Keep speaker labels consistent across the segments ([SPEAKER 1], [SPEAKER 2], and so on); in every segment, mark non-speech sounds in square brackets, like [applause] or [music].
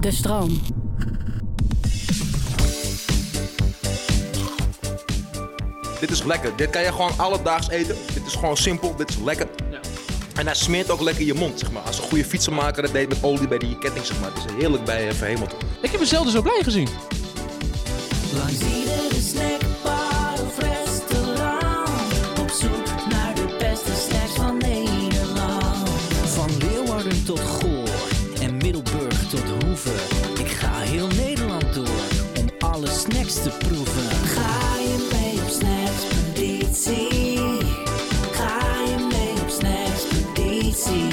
[SPEAKER 1] De stroom.
[SPEAKER 2] Dit is lekker. Dit kan je gewoon alledaags eten. Dit is gewoon simpel. Dit is lekker. En hij smeert ook lekker je mond, zeg maar. Als een goede fietsenmaker dat deed met olie bij die ketting, zeg maar. Het is heerlijk bij eh, Verhemelte.
[SPEAKER 3] Ik heb mezelf dus zo blij gezien.
[SPEAKER 4] Langs iedere snackbar of restaurant. Op zoek naar de beste snacks van Nederland.
[SPEAKER 5] Van Leeuwarden tot Goor en Middelburg tot Hoeve. Ik ga heel Nederland door om alle snacks te proeven.
[SPEAKER 4] Ga je mee op snackspeditie? Ga je mee op snackspeditie?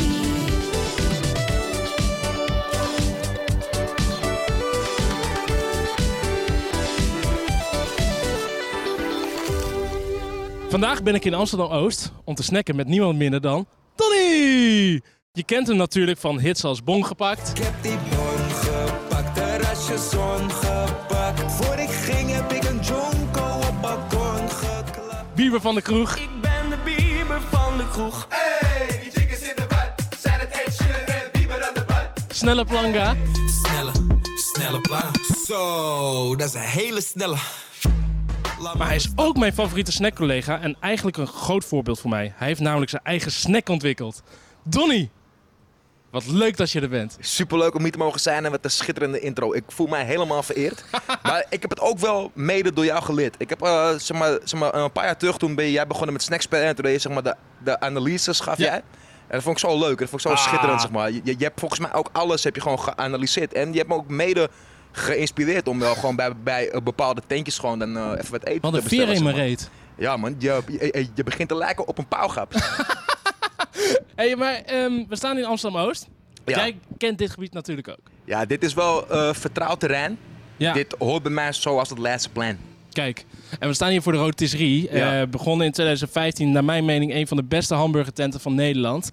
[SPEAKER 3] Vandaag ben ik in Amsterdam-Oost om te snacken met niemand minder dan Donny! Je kent hem natuurlijk van hits als Bong gepakt.
[SPEAKER 6] Ik heb die bon gepakt, terrasjes ongepakt. Voor ik ging heb ik een jonko op balkon geklapt.
[SPEAKER 3] Bieber van de kroeg.
[SPEAKER 6] Ik ben de bieber van de kroeg. Hey, die chickens in de bad. Zijn het Ed Sheeran en bieber aan de bad.
[SPEAKER 3] Snelle Planga.
[SPEAKER 6] Snelle, snelle plan. Zo, Oh, dat is een hele snelle. Laat
[SPEAKER 3] Maar hij is ook mijn favoriete snackcollega en eigenlijk een groot voorbeeld voor mij. Hij heeft namelijk zijn eigen snack ontwikkeld. Donny! Wat leuk dat je er bent.
[SPEAKER 2] Superleuk om hier te mogen zijn en met een schitterende intro. Ik voel mij helemaal
[SPEAKER 3] [laughs]
[SPEAKER 2] vereerd. maar ik heb het ook wel mede door jou geleerd. Ik heb, eh, zeg maar, zeg maar, een paar jaar terug, toen ben jij begonnen met snackspellen. En toen deed je, zeg maar, de, de analyses gaf
[SPEAKER 3] Ja.
[SPEAKER 2] jij. En dat vond ik zo leuk. Dat vond ik zo
[SPEAKER 3] Ah.
[SPEAKER 2] schitterend, zeg maar. Je, je hebt volgens mij ook alles heb je gewoon geanalyseerd. En je hebt me ook mede geïnspireerd om wel gewoon bij, bij eh, bepaalde tentjes gewoon dan eh, even wat eten
[SPEAKER 3] Wat
[SPEAKER 2] te
[SPEAKER 3] een
[SPEAKER 2] bestellen.
[SPEAKER 3] veer in
[SPEAKER 2] zeg
[SPEAKER 3] mijn
[SPEAKER 2] maar.
[SPEAKER 3] reet.
[SPEAKER 2] Ja man, je, je, je begint te lijken op een
[SPEAKER 3] [laughs]
[SPEAKER 2] pauwgap.
[SPEAKER 3] hey, maar ehm, we staan in Amsterdam-Oost.
[SPEAKER 2] Ja.
[SPEAKER 3] Jij kent dit gebied natuurlijk ook.
[SPEAKER 2] ja, dit is wel eh, vertrouwd terrein.
[SPEAKER 3] Ja.
[SPEAKER 2] Dit hoort bij mij zoals het laatste plan.
[SPEAKER 3] Kijk, en we staan hier voor de Rotisserie.
[SPEAKER 2] Ja.
[SPEAKER 3] Eh, begonnen in 2015, naar mijn mening, een van de beste hamburgertenten van Nederland.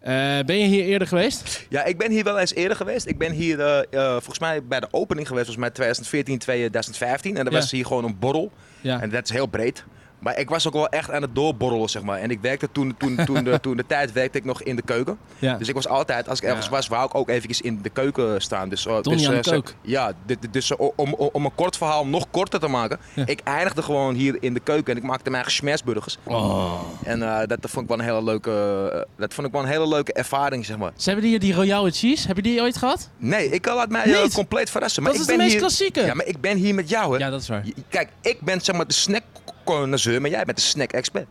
[SPEAKER 3] Eh, ben je hier eerder geweest?
[SPEAKER 2] Ja, ik ben hier wel eens eerder geweest. Ik ben hier eh, eh, volgens mij bij de opening geweest, volgens mij 2014, 2015. En dat
[SPEAKER 3] Ja.
[SPEAKER 2] was hier gewoon een borrel.
[SPEAKER 3] Ja.
[SPEAKER 2] En dat is heel breed. Maar ik was ook wel echt aan het doorborrelen, zeg maar. En ik werkte toen, toen, toen,
[SPEAKER 3] [laughs]
[SPEAKER 2] de, toen de tijd werkte ik nog in de keuken.
[SPEAKER 3] Ja.
[SPEAKER 2] Dus ik was altijd, als ik ergens
[SPEAKER 3] Ja.
[SPEAKER 2] was, wou ik ook eventjes in de keuken staan. Dus, eh,
[SPEAKER 3] Donnie
[SPEAKER 2] dus,
[SPEAKER 3] aan
[SPEAKER 2] eh,
[SPEAKER 3] de
[SPEAKER 2] ze-
[SPEAKER 3] kook.
[SPEAKER 2] Ja, dit- dit- dus eh, om, om, om een kort verhaal nog korter te maken.
[SPEAKER 3] Ja.
[SPEAKER 2] Ik eindigde gewoon hier in de keuken en ik maakte mijn eigen smersburgers.
[SPEAKER 3] Oh.
[SPEAKER 2] En eh, dat, vond ik wel een hele leuke, eh, dat vond ik wel een hele leuke ervaring, zeg maar.
[SPEAKER 3] Ze hebben hier die Royale Cheese. Hebben die ooit gehad?
[SPEAKER 2] Nee, ik laat mij
[SPEAKER 3] Niet?
[SPEAKER 2] eh, compleet verrassen. Maar
[SPEAKER 3] Dat
[SPEAKER 2] ik
[SPEAKER 3] is de
[SPEAKER 2] ben
[SPEAKER 3] meest
[SPEAKER 2] hier...
[SPEAKER 3] klassieke.
[SPEAKER 2] Ja, maar ik ben hier met jou, hè.
[SPEAKER 3] Ja, dat is waar.
[SPEAKER 2] Je- Kijk, ik ben zeg maar de snack-connoisseur, maar jij bent de snack-expert.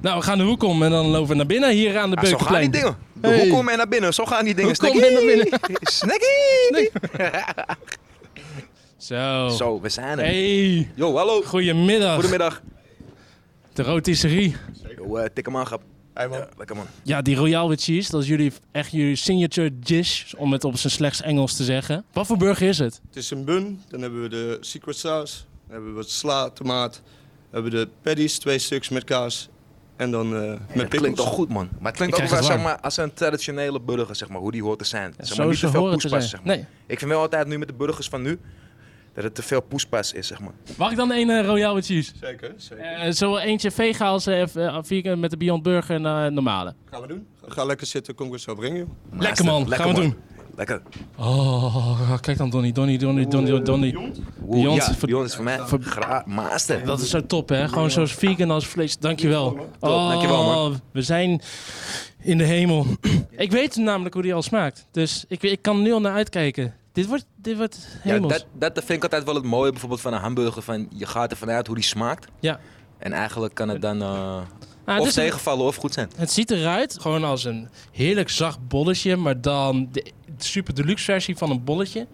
[SPEAKER 3] Nou, we gaan de hoek om en dan lopen we naar binnen hier aan de
[SPEAKER 2] Ah, zo gaan die
[SPEAKER 3] Beukenplein.
[SPEAKER 2] dingen. De
[SPEAKER 3] Hey.
[SPEAKER 2] Hoe kom je naar binnen? Zo gaan die dingen.
[SPEAKER 3] Hoe kom je
[SPEAKER 2] Snackie! [laughs] Snackie!
[SPEAKER 3] Zo.
[SPEAKER 2] Oh. Zo, we zijn er.
[SPEAKER 3] Hey,
[SPEAKER 2] Yo, hallo.
[SPEAKER 3] goedemiddag.
[SPEAKER 2] Goedemiddag.
[SPEAKER 3] De Rotisserie.
[SPEAKER 2] Yo, eh, tik hem aan, grap. Ja, lekker man.
[SPEAKER 3] Ja, die Royale with Cheese, dat is jullie, echt jullie signature dish, om het op zijn slechts Engels te zeggen. Wat voor burger is het?
[SPEAKER 7] Het is een bun, dan hebben we de secret sauce, dan hebben we wat sla, tomaat, dan hebben we de paddies, twee stuks met kaas en dan eh, met
[SPEAKER 2] Het klinkt toch
[SPEAKER 7] pickles.
[SPEAKER 2] goed, man. Maar het klinkt
[SPEAKER 3] Ik
[SPEAKER 2] ook wel
[SPEAKER 3] krijg het
[SPEAKER 2] zeg maar, als een traditionele burger, zeg maar, hoe die hoort te zijn. zeg maar,
[SPEAKER 3] zo
[SPEAKER 2] niet te
[SPEAKER 3] ze
[SPEAKER 2] veel
[SPEAKER 3] horen te
[SPEAKER 2] poespas,
[SPEAKER 3] zijn.
[SPEAKER 2] zeg maar.
[SPEAKER 3] Nee.
[SPEAKER 2] Ik vind wel altijd nu met de burgers van nu, dat het te veel poespas is, zeg maar.
[SPEAKER 3] Mag ik dan een eh, Royale with Cheese?
[SPEAKER 7] Zeker, zeker.
[SPEAKER 3] Eh, zo eentje vegan als eh, v- eh, vegan met de Beyond Burger en eh, normale.
[SPEAKER 7] Gaan we doen? Ga, ga lekker zitten, kom ik het zo brengen. joh.
[SPEAKER 3] Lekker man,
[SPEAKER 2] Lekker,
[SPEAKER 3] gaan we
[SPEAKER 2] man.
[SPEAKER 3] doen.
[SPEAKER 2] Lekker.
[SPEAKER 3] Oh, kijk dan Donnie, Donnie, Donnie, Donnie, Donnie.
[SPEAKER 2] Oeh,
[SPEAKER 3] Beyoncé
[SPEAKER 2] ja,
[SPEAKER 3] ver-
[SPEAKER 2] Beyoncé is voor mij gra- master.
[SPEAKER 3] Ah, Dat is zo top, hè? Gewoon zo vegan als vlees. Dankjewel. Oh,
[SPEAKER 2] dankjewel, man.
[SPEAKER 3] We zijn in de hemel. [clears throat] ik weet namelijk hoe die al smaakt. Dus ik, ik kan nu al naar uitkijken. Dit wordt, dit wordt
[SPEAKER 2] ja,
[SPEAKER 3] hemels. Ja,
[SPEAKER 2] dat, dat vind ik altijd wel het mooie bijvoorbeeld van een hamburger. Van, je gaat ervan uit hoe die smaakt. En eigenlijk kan het dan eh,
[SPEAKER 3] Ah,
[SPEAKER 2] of
[SPEAKER 3] dus het,
[SPEAKER 2] tegenvallen of goed zijn.
[SPEAKER 3] het ziet eruit gewoon als een heerlijk zacht bolletje. Maar dan de super deluxe versie van een bolletje.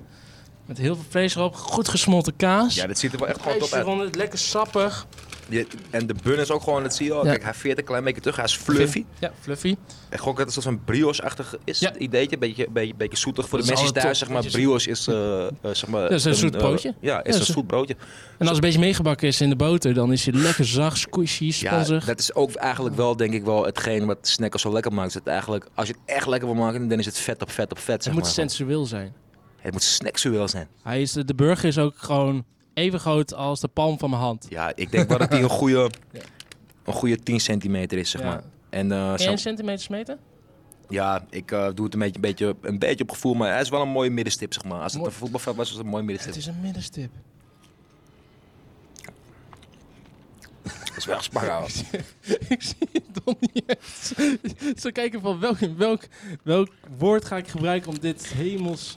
[SPEAKER 3] Met heel veel vlees erop. Goed gesmolten kaas.
[SPEAKER 2] Ja, dat ziet er wel echt gewoon top
[SPEAKER 3] IJsje
[SPEAKER 2] uit.
[SPEAKER 3] eronder, lekker sappig.
[SPEAKER 2] Je- en de bun is ook gewoon, dat zie je al.
[SPEAKER 3] Ja.
[SPEAKER 2] Kijk, hij veert een klein beetje terug. Hij is fluffy.
[SPEAKER 3] Ja, fluffy.
[SPEAKER 2] Ik gok dat het zoals een brioche-achtig is.
[SPEAKER 3] Ja.
[SPEAKER 2] Het ideetje, een beetje, beetje, beetje zoetig voor de
[SPEAKER 3] Dat is
[SPEAKER 2] mensen
[SPEAKER 3] altijd
[SPEAKER 2] thuis.
[SPEAKER 3] top.
[SPEAKER 2] Zeg maar,
[SPEAKER 3] Beetje
[SPEAKER 2] brioche is, eh, eh, zeg maar...
[SPEAKER 3] Dat is een zoet
[SPEAKER 2] eh,
[SPEAKER 3] broodje.
[SPEAKER 2] ja, is
[SPEAKER 3] Ja,
[SPEAKER 2] een
[SPEAKER 3] zo-
[SPEAKER 2] zoet broodje.
[SPEAKER 3] En als het een beetje meegebakken is in de boter, dan is hij lekker zacht, squishy,
[SPEAKER 2] Ja,
[SPEAKER 3] sponsig.
[SPEAKER 2] dat is ook eigenlijk wel, denk ik wel, hetgeen wat snackers zo lekker maakt. Is het eigenlijk, als je het echt lekker wil maken, dan is het vet op vet op vet,
[SPEAKER 3] het
[SPEAKER 2] zeg
[SPEAKER 3] moet
[SPEAKER 2] maar.
[SPEAKER 3] sensueel zijn.
[SPEAKER 2] Het moet snacksueel zijn.
[SPEAKER 3] Hij is, de burger is ook gewoon even groot als de palm van mijn hand.
[SPEAKER 2] Ja, ik denk wel dat [laughs] die een goede, een goede 10 centimeter is, zeg
[SPEAKER 3] Ja.
[SPEAKER 2] maar. En eh, zo-
[SPEAKER 3] 1 centimeter smeten?
[SPEAKER 2] ja, ik eh, doe het een beetje, een, beetje, een beetje op gevoel, maar hij is wel een mooie middenstip, zeg maar. Als het
[SPEAKER 3] Mooi.
[SPEAKER 2] een voetbalveld was, was het een mooi middenstip.
[SPEAKER 3] Het is een middenstip. [laughs]
[SPEAKER 2] Dat is wel
[SPEAKER 3] [laughs]
[SPEAKER 2] spannend.
[SPEAKER 3] ik zie Donnie echt zo kijken van welk, welk, welk woord ga ik gebruiken om dit hemels...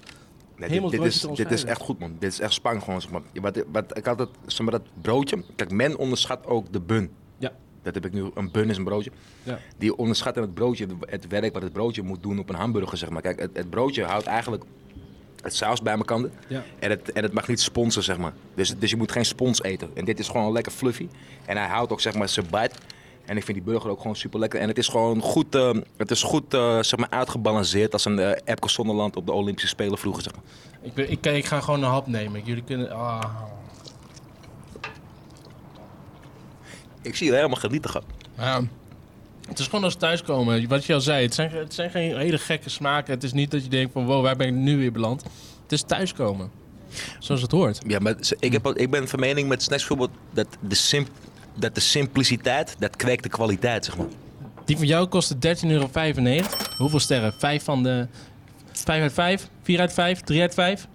[SPEAKER 2] Nee,
[SPEAKER 3] Hemels
[SPEAKER 2] dit, dit
[SPEAKER 3] broodje
[SPEAKER 2] is,
[SPEAKER 3] te
[SPEAKER 2] dit is
[SPEAKER 3] omschrijven.
[SPEAKER 2] echt goed, man. Dit is echt spang gewoon, zeg maar. Ja, Wat, wat, ik had het, zeg maar, dat broodje. Kijk, men onderschat ook de bun.
[SPEAKER 3] Ja.
[SPEAKER 2] Dat heb ik nu. Een bun is een broodje.
[SPEAKER 3] Ja.
[SPEAKER 2] Die onderschatten het broodje, het werk wat het broodje moet doen op een hamburger, zeg maar. Kijk, het, het broodje houdt eigenlijk het saus bij mijn kanten.
[SPEAKER 3] Ja.
[SPEAKER 2] En, het, en het mag niet sponsen, zeg maar. Dus, dus je moet geen spons eten. En dit is gewoon lekker fluffy. En hij houdt ook, zeg maar, zijn bite. En ik vind die burger ook gewoon super lekker. En het is gewoon goed, eh, het is goed eh, zeg maar, uitgebalanceerd als een eh Epke Sonderland op de Olympische Spelen vroeger, zeg maar.
[SPEAKER 3] Ik, ben- ik, ik ga gewoon een hap nemen. Jullie kunnen... ah.
[SPEAKER 2] Ik zie je helemaal genieten gaan.
[SPEAKER 3] Ja. Het is gewoon als thuiskomen. Wat je al zei, het zijn, het zijn geen hele gekke smaken. Het is niet dat je denkt van wow, waar ben ik nu weer beland? Het is thuiskomen. Zoals het hoort.
[SPEAKER 2] Ja, maar ze- ik, heb, al- ik ben van mening met snacks bijvoorbeeld dat de, sim, dat de simpliciteit, dat kweekt de kwaliteit, zeg maar.
[SPEAKER 3] Die van jou kostte 13,95 euro. Hoeveel sterren? 5 van de... 5 uit 5? 4 uit 5? 3 uit 5?
[SPEAKER 2] 4,33.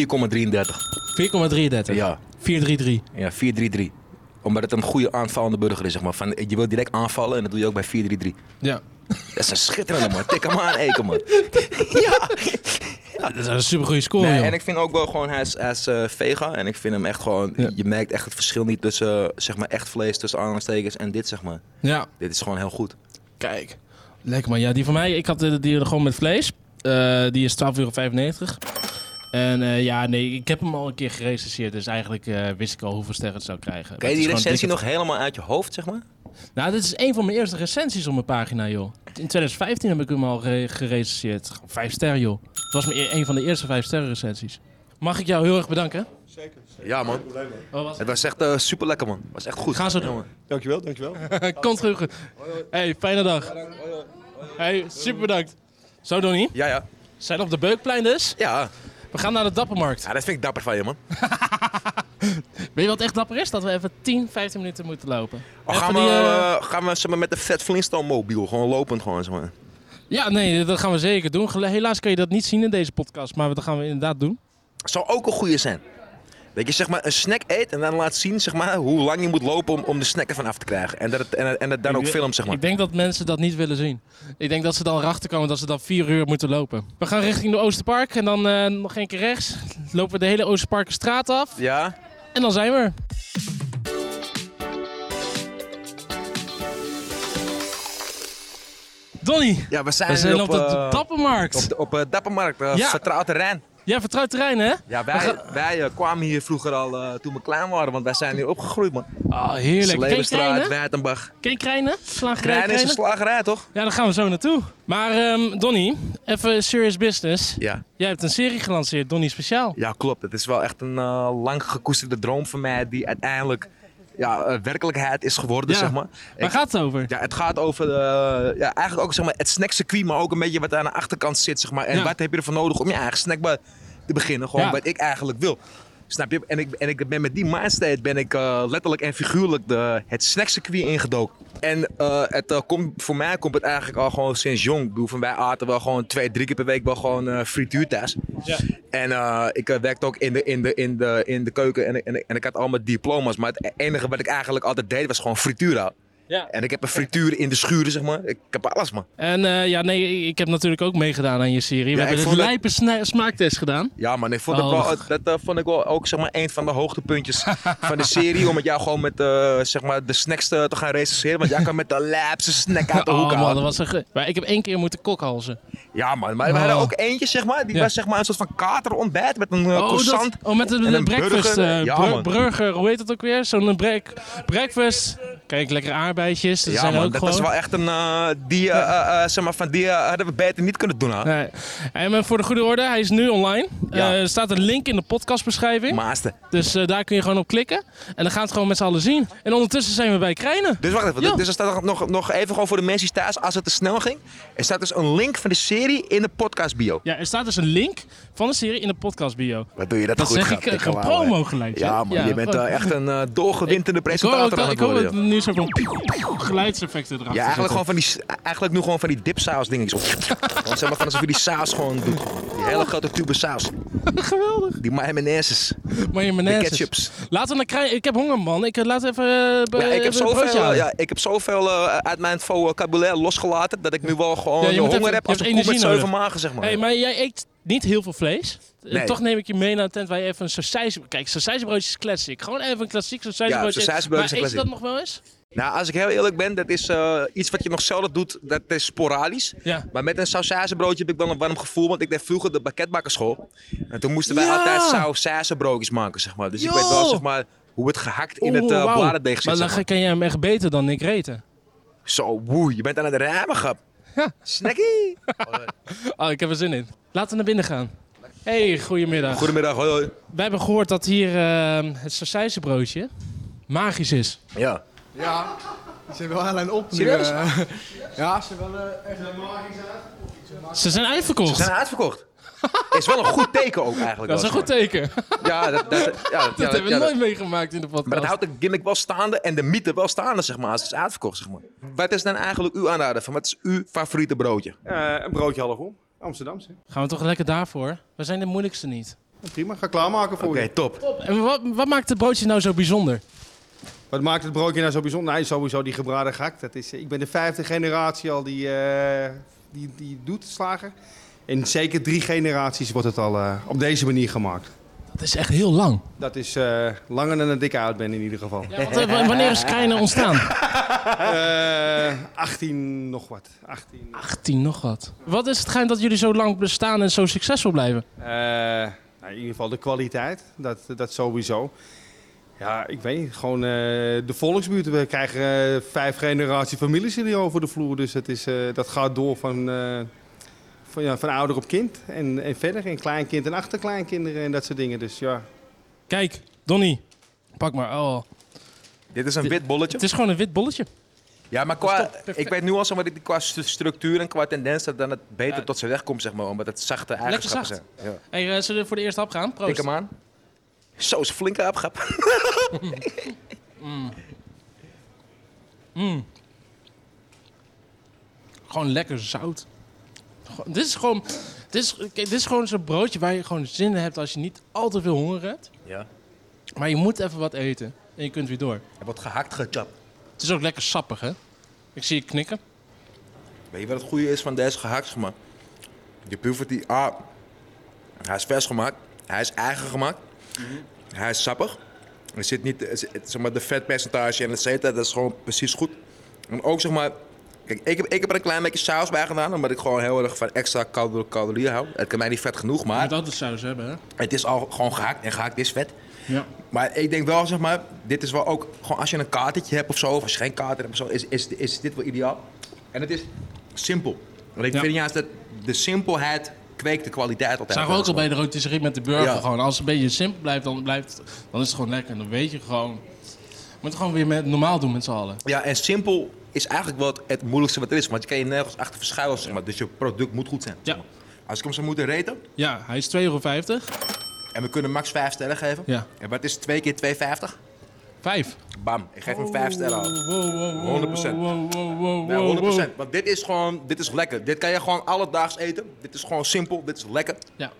[SPEAKER 3] 4,33.
[SPEAKER 2] Ja.
[SPEAKER 3] 433.
[SPEAKER 2] Ja, 4-3-3. Omdat het een goede aanvallende burger is, zeg maar. Van, je wilt direct aanvallen en dat doe je ook bij 4-3-3.
[SPEAKER 3] Ja.
[SPEAKER 2] Dat is een schitterende, man. Tik hem aan, [laughs] Eken, man.
[SPEAKER 3] Dat is een supergoeie score,
[SPEAKER 2] Nee,
[SPEAKER 3] joh.
[SPEAKER 2] en ik vind ook wel gewoon, hij is, hij is eh, vegan. En ik vind hem echt gewoon,
[SPEAKER 3] Ja.
[SPEAKER 2] je merkt echt het verschil niet tussen, eh, zeg maar, echt vlees, tussen aanhalingstekens en dit, zeg maar.
[SPEAKER 3] Ja.
[SPEAKER 2] Dit is gewoon heel goed.
[SPEAKER 3] Kijk. Lekker man. Ja, die van mij, ik had eh, die gewoon met vlees. Eh, die is 12,95 euro. En eh, ja, nee, ik heb hem al een keer gerecenseerd. Dus eigenlijk eh, wist ik al hoeveel sterren het zou
[SPEAKER 2] Kan
[SPEAKER 3] krijgen. Het
[SPEAKER 2] je
[SPEAKER 3] is
[SPEAKER 2] die
[SPEAKER 3] gewoon
[SPEAKER 2] recensie
[SPEAKER 3] dikke-
[SPEAKER 2] nog helemaal uit je hoofd, zeg maar?
[SPEAKER 3] Nou, dit is een van mijn eerste recensies op mijn pagina, joh. In 2015 heb ik hem al gere- gerecenseerd. Gewoon Vijf sterren, joh. Het was mijn, e- een van de eerste vijf sterren recensies. Mag ik jou heel erg bedanken?
[SPEAKER 2] Ja, man.
[SPEAKER 3] Oh, was...
[SPEAKER 2] Het was echt eh, super lekker, man. was echt goed.
[SPEAKER 3] Ga zo
[SPEAKER 2] Ja,
[SPEAKER 3] doen.
[SPEAKER 7] Dankjewel, dankjewel.
[SPEAKER 3] Komt Eh, terug. Hey, fijne dag. Hey, super bedankt. Zo, Donnie.
[SPEAKER 2] Ja, ja.
[SPEAKER 3] Zijn op de Beukplein dus.
[SPEAKER 2] Ja,
[SPEAKER 3] We gaan naar de Dappermarkt.
[SPEAKER 2] ja dat vind ik dapper van je, man.
[SPEAKER 3] Weet je wat echt dapper is? Dat we even 10, 15 minuten moeten lopen.
[SPEAKER 2] Oh,
[SPEAKER 3] Even
[SPEAKER 2] gaan, we,
[SPEAKER 3] die, eh,
[SPEAKER 2] eh, gaan we zeg maar, met de Fat Flintstone mobiel, gewoon lopend gewoon, zeg maar.
[SPEAKER 3] Ja, nee, dat gaan we zeker doen. Gel- Helaas kan je dat niet zien in deze podcast, maar dat gaan we inderdaad doen.
[SPEAKER 2] zou ook een goede zijn. Dat je zeg maar een snack eet en dan laat zien zeg maar, hoe lang je moet lopen om, om de snack ervan af te krijgen. En dat het, en, en het dan
[SPEAKER 3] Ik
[SPEAKER 2] ook
[SPEAKER 3] we-
[SPEAKER 2] filmt, zeg maar.
[SPEAKER 3] Ik denk dat mensen dat niet willen zien. Ik denk dat ze dan erachter komen dat ze dan vier uur moeten lopen. We gaan richting de Oosterpark en dan eh, nog één keer rechts. Lopen we de hele Oosterparkstraat af
[SPEAKER 2] Ja?
[SPEAKER 3] en dan zijn we er. Donnie,
[SPEAKER 2] Ja, we zijn,
[SPEAKER 3] we zijn
[SPEAKER 2] nu
[SPEAKER 3] op, de,
[SPEAKER 2] eh,
[SPEAKER 3] de Dappermarkt.
[SPEAKER 2] op, de- op eh, Dappermarkt, eh,
[SPEAKER 3] Ja.
[SPEAKER 2] vertrouwd terrein.
[SPEAKER 3] Ja, vertrouwd terrein, hè?
[SPEAKER 2] Ja, wij, wij eh, kwamen hier vroeger al eh, toen we klein waren, want wij zijn hier opgegroeid, man.
[SPEAKER 3] Ah, heerlijk. Ken je
[SPEAKER 2] Slevenstraat,
[SPEAKER 3] Krijnen?
[SPEAKER 2] Wijtenbach.
[SPEAKER 3] Ken je Krijnen? Slagerij
[SPEAKER 2] Krijn is een
[SPEAKER 3] Krijnen?
[SPEAKER 2] slagerij, toch?
[SPEAKER 3] Ja, daar gaan we zo naartoe. Maar ehm, Donnie, even serious business.
[SPEAKER 2] Ja.
[SPEAKER 3] Jij hebt een serie gelanceerd, Donnie Speciaal.
[SPEAKER 2] Ja, klopt. Het is wel echt een eh, lang gekoesterde droom van mij die uiteindelijk ja, eh, werkelijkheid is geworden,
[SPEAKER 3] Ja.
[SPEAKER 2] zeg maar.
[SPEAKER 3] Waar
[SPEAKER 2] Ik-
[SPEAKER 3] gaat het over?
[SPEAKER 2] Ja, het gaat over eh, ja, eigenlijk ook zeg maar, het snackcircuit, maar ook een beetje wat aan de achterkant zit. Zeg maar. En
[SPEAKER 3] Ja.
[SPEAKER 2] wat heb je ervoor nodig om je eigen snackbar te beginnen? Gewoon
[SPEAKER 3] Ja.
[SPEAKER 2] wat ik eigenlijk wil. Snap je? En ik, en ik ben met die mindset ben ik eh, letterlijk en figuurlijk de, het snackcircuit ingedoken. En eh, het, eh, komt, voor mij komt het eigenlijk al gewoon sinds jong. Ik bedoel, van wij aten wel gewoon twee, drie keer per week wel gewoon eh frituur thuis. En eh, ik eh, werkte ook in de, in de, in de, in de keuken en, en, en ik had allemaal diploma's. Maar het enige wat ik eigenlijk altijd deed was gewoon frituur houden.
[SPEAKER 3] Ja.
[SPEAKER 2] En ik heb een frituur in de schuur, zeg maar. Ik heb alles, man.
[SPEAKER 3] En eh, ja, nee, ik heb natuurlijk ook meegedaan aan je serie.
[SPEAKER 2] ik
[SPEAKER 3] We hebben
[SPEAKER 2] vond
[SPEAKER 3] een
[SPEAKER 2] het-
[SPEAKER 3] lijpe sna- smaakstest gedaan.
[SPEAKER 2] Ja, man, ik vond
[SPEAKER 3] Oh.
[SPEAKER 2] het wel, dat eh, vond ik wel ook zeg maar, een van de hoogtepuntjes
[SPEAKER 3] [laughs]
[SPEAKER 2] van de serie. Om met jou gewoon met eh, zeg maar, de snacks te, te gaan recenseren. Want jij kan met de lapse snack uit de hoek
[SPEAKER 3] Oh man,
[SPEAKER 2] halen.
[SPEAKER 3] dat was een ge- Maar ik heb één keer moeten kokhalzen.
[SPEAKER 2] Ja, man, maar we hadden
[SPEAKER 3] Oh.
[SPEAKER 2] ook eentje, zeg maar, die
[SPEAKER 3] Ja.
[SPEAKER 2] was zeg maar, een soort van katerontbijt met een eh,
[SPEAKER 3] Oh,
[SPEAKER 2] croissant.
[SPEAKER 3] dat, oh, met een,
[SPEAKER 2] en
[SPEAKER 3] een
[SPEAKER 2] een
[SPEAKER 3] breakfast.
[SPEAKER 2] burger.
[SPEAKER 3] eh,
[SPEAKER 2] Ja,
[SPEAKER 3] bur-
[SPEAKER 2] man.
[SPEAKER 3] burger, hoe heet dat ook weer? Zo'n eh, break, breakfast. Kijk, lekker aardbeidjes. Dat
[SPEAKER 2] ja,
[SPEAKER 3] zijn
[SPEAKER 2] man,
[SPEAKER 3] ook
[SPEAKER 2] dat
[SPEAKER 3] gewoon.
[SPEAKER 2] is wel echt een. eh, die, eh, eh, eh, zeg maar, van die eh, hadden we beter niet kunnen doen, hè?
[SPEAKER 3] Nee. En eh, voor de goede orde, hij is nu online.
[SPEAKER 2] Ja.
[SPEAKER 3] Eh, er staat een link in de podcastbeschrijving.
[SPEAKER 2] Maaste.
[SPEAKER 3] Dus eh, daar kun je gewoon op klikken. En dan gaan we het gewoon met z'n allen zien. En ondertussen zijn we bij Krijnen.
[SPEAKER 2] Dus wacht even,
[SPEAKER 3] Ja.
[SPEAKER 2] dus er staat nog, nog even gewoon voor de mensen die thuis, als het te snel ging. Er staat dus een link van de serie in de podcast bio.
[SPEAKER 3] Ja, er staat dus een link van de serie in de podcastbio.
[SPEAKER 2] Wat doe je dat,
[SPEAKER 3] Dat
[SPEAKER 2] goed?
[SPEAKER 3] zeg
[SPEAKER 2] grap,
[SPEAKER 3] ik, eh,
[SPEAKER 2] dikke
[SPEAKER 3] gewoon
[SPEAKER 2] lauwe.
[SPEAKER 3] promo gelijk,
[SPEAKER 2] Ja,
[SPEAKER 3] hè?
[SPEAKER 2] man,
[SPEAKER 3] Ja,
[SPEAKER 2] je bent eh,
[SPEAKER 3] gewoon.
[SPEAKER 2] echt een eh doorgewinterde
[SPEAKER 3] Ik hoor
[SPEAKER 2] presentator
[SPEAKER 3] ook dat,
[SPEAKER 2] aan
[SPEAKER 3] ik
[SPEAKER 2] het
[SPEAKER 3] hoor
[SPEAKER 2] worden.
[SPEAKER 3] dat
[SPEAKER 2] joh.
[SPEAKER 3] er nu zo van geluidseffecten erachter
[SPEAKER 2] Ja, eigenlijk, gewoon
[SPEAKER 3] zitten.
[SPEAKER 2] van die, s- eigenlijk nu gewoon van die dipsaus dingetjes. Want zeg maar gewoon alsof je die saus gewoon doet. Die hele grote tube saus.
[SPEAKER 3] [laughs] Geweldig.
[SPEAKER 2] Die mayonaises, de
[SPEAKER 3] Mayonaise.
[SPEAKER 2] ketchups.
[SPEAKER 3] Laten we naar Krij- Ik heb honger, man. Ik eh, laat even. eh, be-
[SPEAKER 2] Ja, ik, heb
[SPEAKER 3] even een broodje
[SPEAKER 2] zoveel,
[SPEAKER 3] halen.
[SPEAKER 2] ja, ik heb zoveel eh, uit mijn vocabulaire losgelaten dat ik nu wel gewoon
[SPEAKER 3] Ja, je
[SPEAKER 2] de
[SPEAKER 3] moet
[SPEAKER 2] honger
[SPEAKER 3] even-
[SPEAKER 2] heb
[SPEAKER 3] je
[SPEAKER 2] als
[SPEAKER 3] hebt
[SPEAKER 2] een koe met
[SPEAKER 3] energie
[SPEAKER 2] zeven
[SPEAKER 3] nodig.
[SPEAKER 2] magen, zeg maar.
[SPEAKER 3] Hey, maar jij eet niet heel veel vlees. Eh,
[SPEAKER 2] Nee.
[SPEAKER 3] Toch neem ik je mee naar een tent waar je even een sausijs... Kijk, sausijsbroodje is classic. Gewoon even een klassiek sausijsbroodje.
[SPEAKER 2] sausijsbroodje is
[SPEAKER 3] maar eet je dat
[SPEAKER 2] classic.
[SPEAKER 3] nog wel eens?
[SPEAKER 2] Nou, als ik heel eerlijk ben, dat is eh, iets wat je nog zelden doet, dat is sporadisch.
[SPEAKER 3] Ja.
[SPEAKER 2] Maar met een sausijzenbroodje heb ik dan een warm gevoel, want ik deed vroeger de bakketbakkerschool. En toen moesten wij
[SPEAKER 3] Ja.
[SPEAKER 2] altijd sausijzenbroodjes maken, zeg maar. Dus
[SPEAKER 3] Yo.
[SPEAKER 2] ik weet wel, zeg maar, hoe het gehakt in het
[SPEAKER 3] Oeh,
[SPEAKER 2] eh
[SPEAKER 3] wauw.
[SPEAKER 2] bladerdeeg
[SPEAKER 3] Maar
[SPEAKER 2] zit,
[SPEAKER 3] dan
[SPEAKER 2] zeg maar.
[SPEAKER 3] ken jij hem echt beter dan Nick Reten.
[SPEAKER 2] Zo, woe, je bent aan het ramen, grap. Snackie!
[SPEAKER 3] Oh, ik heb er zin in. Laten we naar binnen gaan. Hey, goedemiddag.
[SPEAKER 2] Goedemiddag, hoi, hoi.
[SPEAKER 3] Wij hebben gehoord dat hier ehm, het sausijzenbroodje magisch is.
[SPEAKER 2] Ja.
[SPEAKER 8] Ja, ze zijn wel aan op nu.
[SPEAKER 2] Serieus?
[SPEAKER 8] eh. ja, ze zijn wel eh, echt...
[SPEAKER 3] Ze zijn uitverkocht.
[SPEAKER 2] Ze zijn uitverkocht.
[SPEAKER 3] [laughs]
[SPEAKER 2] Is wel een goed teken ook eigenlijk.
[SPEAKER 3] Dat is een
[SPEAKER 2] wel,
[SPEAKER 3] goed teken.
[SPEAKER 2] zeg maar. Ja, dat, dat, ja,
[SPEAKER 3] [laughs]
[SPEAKER 2] ja,
[SPEAKER 3] Dat hebben we
[SPEAKER 2] ja,
[SPEAKER 3] nooit meegemaakt in de podcast.
[SPEAKER 2] Maar dat houdt de gimmick wel staande en de mythe wel staande, zeg maar, als het is uitverkocht, zeg maar. Wat is dan eigenlijk uw aanrader van, wat is uw favoriete broodje?
[SPEAKER 8] eh een broodje halfom. Amsterdamse.
[SPEAKER 3] Gaan we toch lekker daarvoor? We zijn de moeilijkste niet.
[SPEAKER 8] Oh, Prima, ga klaarmaken voor
[SPEAKER 2] Oké,
[SPEAKER 8] je.
[SPEAKER 2] top.
[SPEAKER 3] En wat, wat maakt het broodje nou zo bijzonder?
[SPEAKER 8] Wat maakt het broodje nou zo bijzonder? Nee, sowieso die gebraden gehakt. Dat is, eh, ik ben de vijfde generatie al die, eh, die, die doet slagen. En zeker drie generaties wordt het al eh, op deze manier gemaakt.
[SPEAKER 3] Dat is echt heel lang.
[SPEAKER 8] Dat is eh, langer dan dat ik oud ben in ieder geval.
[SPEAKER 3] Ja, want, eh, w- wanneer is Krijnen ontstaan?
[SPEAKER 8] Eh 18 nog wat. eh, 18.
[SPEAKER 3] 18 nog wat. Wat is het geheim dat jullie zo lang bestaan en zo succesvol blijven?
[SPEAKER 8] Eh, nou, in ieder geval de kwaliteit, dat, dat sowieso. Ja, ik weet niet, gewoon eh, de volksbuurt. We krijgen eh, vijf generatie families hier over de vloer. Dus het is, eh, dat gaat door van, eh, van, ja, van ouder op kind en, en verder. En kleinkind en achterkleinkinderen en dat soort dingen. Dus ja,
[SPEAKER 3] Kijk, Donnie. Pak maar. Oh.
[SPEAKER 2] Dit is een wit bolletje.
[SPEAKER 3] Het is gewoon een wit bolletje.
[SPEAKER 2] Ja, maar qua, ik weet nu al zeg maar, dat die qua stu- structuur en qua tendens dat dan het beter tot zijn recht komt, zeg maar, omdat het zachte eigenschappen
[SPEAKER 3] zacht.
[SPEAKER 2] zijn. Ja.
[SPEAKER 3] Hey, eh, zullen we voor de eerste hap gaan?
[SPEAKER 2] Tik
[SPEAKER 3] Proost.
[SPEAKER 2] hem aan. Zo is een flinke apgap.
[SPEAKER 3] Gewoon lekker zout. Gewoon- Dit is gewoon, dit is, kijk, dit is gewoon zo'n broodje waar je gewoon zin in hebt als je niet al te veel honger hebt.
[SPEAKER 2] Ja.
[SPEAKER 3] Maar je moet even wat eten en je kunt weer door.
[SPEAKER 2] Hij wordt gehakt, gechapt.
[SPEAKER 3] Het is ook lekker sappig, hè? Ik zie je knikken.
[SPEAKER 2] Weet je wat het goede is van deze gehakt, zeg maar? Je proeft die, ah, hij is vers gemaakt, hij is eigen gemaakt, hij is sappig. Er zit niet, eh, z- zeg maar, de vetpercentage en et cetera, dat is gewoon precies goed. En ook, zeg maar, kijk, ik heb, ik heb er een klein beetje saus bij gedaan, omdat ik gewoon heel erg van extra calor- calorieën hou. Het kan mij niet vet genoeg,
[SPEAKER 3] Je
[SPEAKER 2] maar
[SPEAKER 3] moet altijd saus hebben, hè?
[SPEAKER 2] het is al gewoon gehakt en gehakt is vet.
[SPEAKER 3] Ja.
[SPEAKER 2] Maar ik denk wel, zeg maar, dit is wel ook gewoon als je een katertje hebt of zo, of als je geen kater hebt of zo, is, is, is dit wel ideaal. En het is simpel. Want ik
[SPEAKER 3] Ja.
[SPEAKER 2] vind juist dat de simpelheid kweekt de kwaliteit altijd.
[SPEAKER 3] Zagen we ook al bij de rotisserie met de burger.
[SPEAKER 2] Ja.
[SPEAKER 3] Gewoon, als het een beetje simpel blijft dan, blijft, dan is het gewoon lekker. En dan weet je gewoon... Je moet het gewoon weer met, normaal doen met z'n allen.
[SPEAKER 2] Ja, en simpel is eigenlijk wel het, het moeilijkste wat er is, want je kan je nergens achter verschuilen, zeg maar. Dus je product moet goed zijn.
[SPEAKER 3] Ja.
[SPEAKER 2] zeg maar. Als ik hem zou moeten reten,
[SPEAKER 3] Ja, hij is 2,50 euro.
[SPEAKER 9] En we kunnen max 5 sterren geven.
[SPEAKER 3] Ja.
[SPEAKER 9] En wat is 2 keer 2,50?
[SPEAKER 3] Vijf.
[SPEAKER 9] Bam, ik geef hem 5 sterren. al. 100%.
[SPEAKER 3] Wow, wow, wow,
[SPEAKER 9] Nee,
[SPEAKER 3] wow,
[SPEAKER 9] 100%.
[SPEAKER 3] Oh, wow.
[SPEAKER 9] Want dit is gewoon, dit is lekker. Dit kan je gewoon alledaags eten. Dit is gewoon simpel, dit is lekker.
[SPEAKER 3] Ja.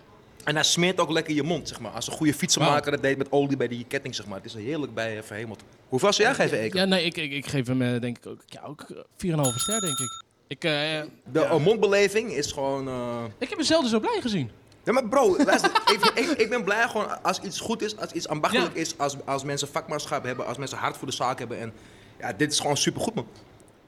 [SPEAKER 9] En hij smeert ook lekker je mond, zeg maar. Als een goede fietsenmaker dat deed met olie bij die ketting, zeg maar. Het is heerlijk bij eh, verhemeld. Hoeveel zou jij geven, Eken?
[SPEAKER 3] Ja, nee, ik, ik, ik geef hem eh, denk ik ook, ja, ook eh, 4,5 ster, denk ik. Ik, eh,
[SPEAKER 9] De eh, mondbeleving is gewoon... eh,
[SPEAKER 3] ik heb hem zelden zo blij gezien.
[SPEAKER 9] Ja, maar bro,
[SPEAKER 3] [laughs]
[SPEAKER 9] luister, ik, ik, ik ben blij gewoon als iets goed is, als iets ambachtelijk
[SPEAKER 3] Ja.
[SPEAKER 9] is, als, als mensen vakmanschap hebben, als mensen hart voor de zaak hebben. En ja, dit is gewoon supergoed, man.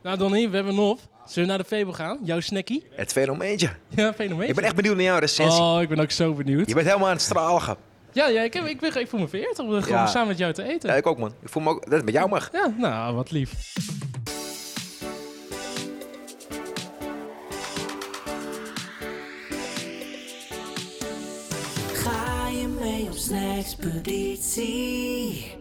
[SPEAKER 3] Nou, Donnie, we hebben nog. Zullen we naar de Febo gaan? Jouw snackie? [laughs]
[SPEAKER 2] Het fenomeentje.
[SPEAKER 3] Ja, fenomeen.
[SPEAKER 2] Ik ben echt benieuwd naar jouw recensie.
[SPEAKER 3] Oh, ik ben ook zo benieuwd.
[SPEAKER 2] Je bent helemaal aan het stralen, gap.
[SPEAKER 3] Ja, ja ik, heb, ik, ben, ik voel me vereerd om er gewoon
[SPEAKER 2] Ja. Eh.
[SPEAKER 3] samen met jou te eten.
[SPEAKER 2] Ja, ik ook, man. Ik voel me ook dat het met jou mag.
[SPEAKER 3] Ja, nou, wat lief.
[SPEAKER 4] Ga je mee op snackspeditie?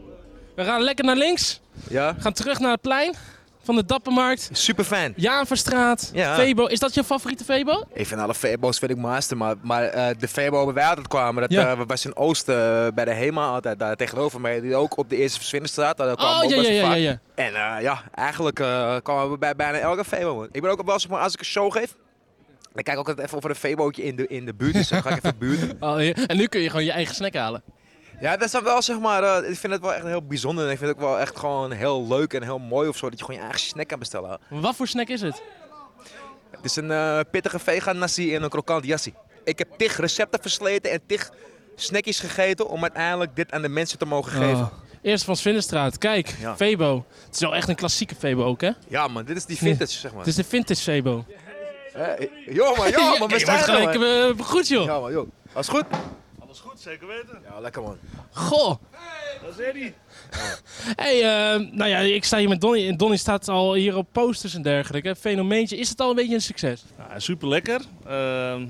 [SPEAKER 3] We gaan lekker naar links.
[SPEAKER 2] Ja,
[SPEAKER 3] We gaan terug naar het plein van de Dappermarkt.
[SPEAKER 2] super fijn.
[SPEAKER 3] Javastraat,
[SPEAKER 2] Ja.
[SPEAKER 3] Febo. Is dat je favoriete Febo?
[SPEAKER 2] Ik vind alle Febo's vind ik master, maar, maar eh, de Febo waar wij altijd kwamen, dat
[SPEAKER 3] Ja.
[SPEAKER 2] eh, was in Oosten eh, bij de Hema altijd daar tegenover mij, die ook op de Eerste Verswinderstraat, daar kwamen we
[SPEAKER 3] Oh,
[SPEAKER 2] ook
[SPEAKER 3] ja,
[SPEAKER 2] best
[SPEAKER 3] ja,
[SPEAKER 2] wel
[SPEAKER 3] ja, ja,
[SPEAKER 2] vaak.
[SPEAKER 3] ja.
[SPEAKER 2] En eh, ja, eigenlijk eh, kwamen we bij bijna elke Febo. man. Ik ben ook wel eens, maar als ik een show geef, dan kijk ik ook altijd even of er een Febootje in de, in de buurt is. Dan ga ik even
[SPEAKER 3] [laughs]
[SPEAKER 2] buurten.
[SPEAKER 3] Oh, ja. En nu kun je gewoon je eigen snack halen.
[SPEAKER 2] Ja, dat is dan wel zeg maar, eh, ik vind het wel echt heel bijzonder en ik vind het ook wel echt gewoon heel leuk en heel mooi of zo, dat je gewoon je eigen snack kan bestellen.
[SPEAKER 3] Maar Wat voor snack is het?
[SPEAKER 2] Het is een eh, pittige vegan nasi en een krokant jassie. Ik heb tig recepten versleten en tig snackjes gegeten om uiteindelijk dit aan de mensen te mogen geven.
[SPEAKER 3] Oh. Eerst van Svinderstraat. Kijk,
[SPEAKER 2] Ja.
[SPEAKER 3] Febo. Het is wel echt een klassieke Febo ook, hè?
[SPEAKER 2] Ja man, dit is die vintage zeg maar.
[SPEAKER 3] Het is de vintage
[SPEAKER 2] [laughs]
[SPEAKER 3] Febo.
[SPEAKER 2] Eh, joh man,
[SPEAKER 3] [laughs]
[SPEAKER 2] joh man, we
[SPEAKER 3] Hey, wordt
[SPEAKER 2] zijn er
[SPEAKER 3] gelijk
[SPEAKER 2] man.
[SPEAKER 3] eh, goed, joh.
[SPEAKER 2] Ja man, joh. Alles goed?
[SPEAKER 10] Alles goed, zeker weten.
[SPEAKER 2] Ja, lekker man.
[SPEAKER 3] Goh.
[SPEAKER 10] Dat is Eddie.
[SPEAKER 3] Hey, eh, nou ja, ik sta hier met Donnie. En Donnie staat al hier op posters en dergelijke. Fenomeentje. Is het al een beetje een succes?
[SPEAKER 10] Nou, super lekker. Ehm,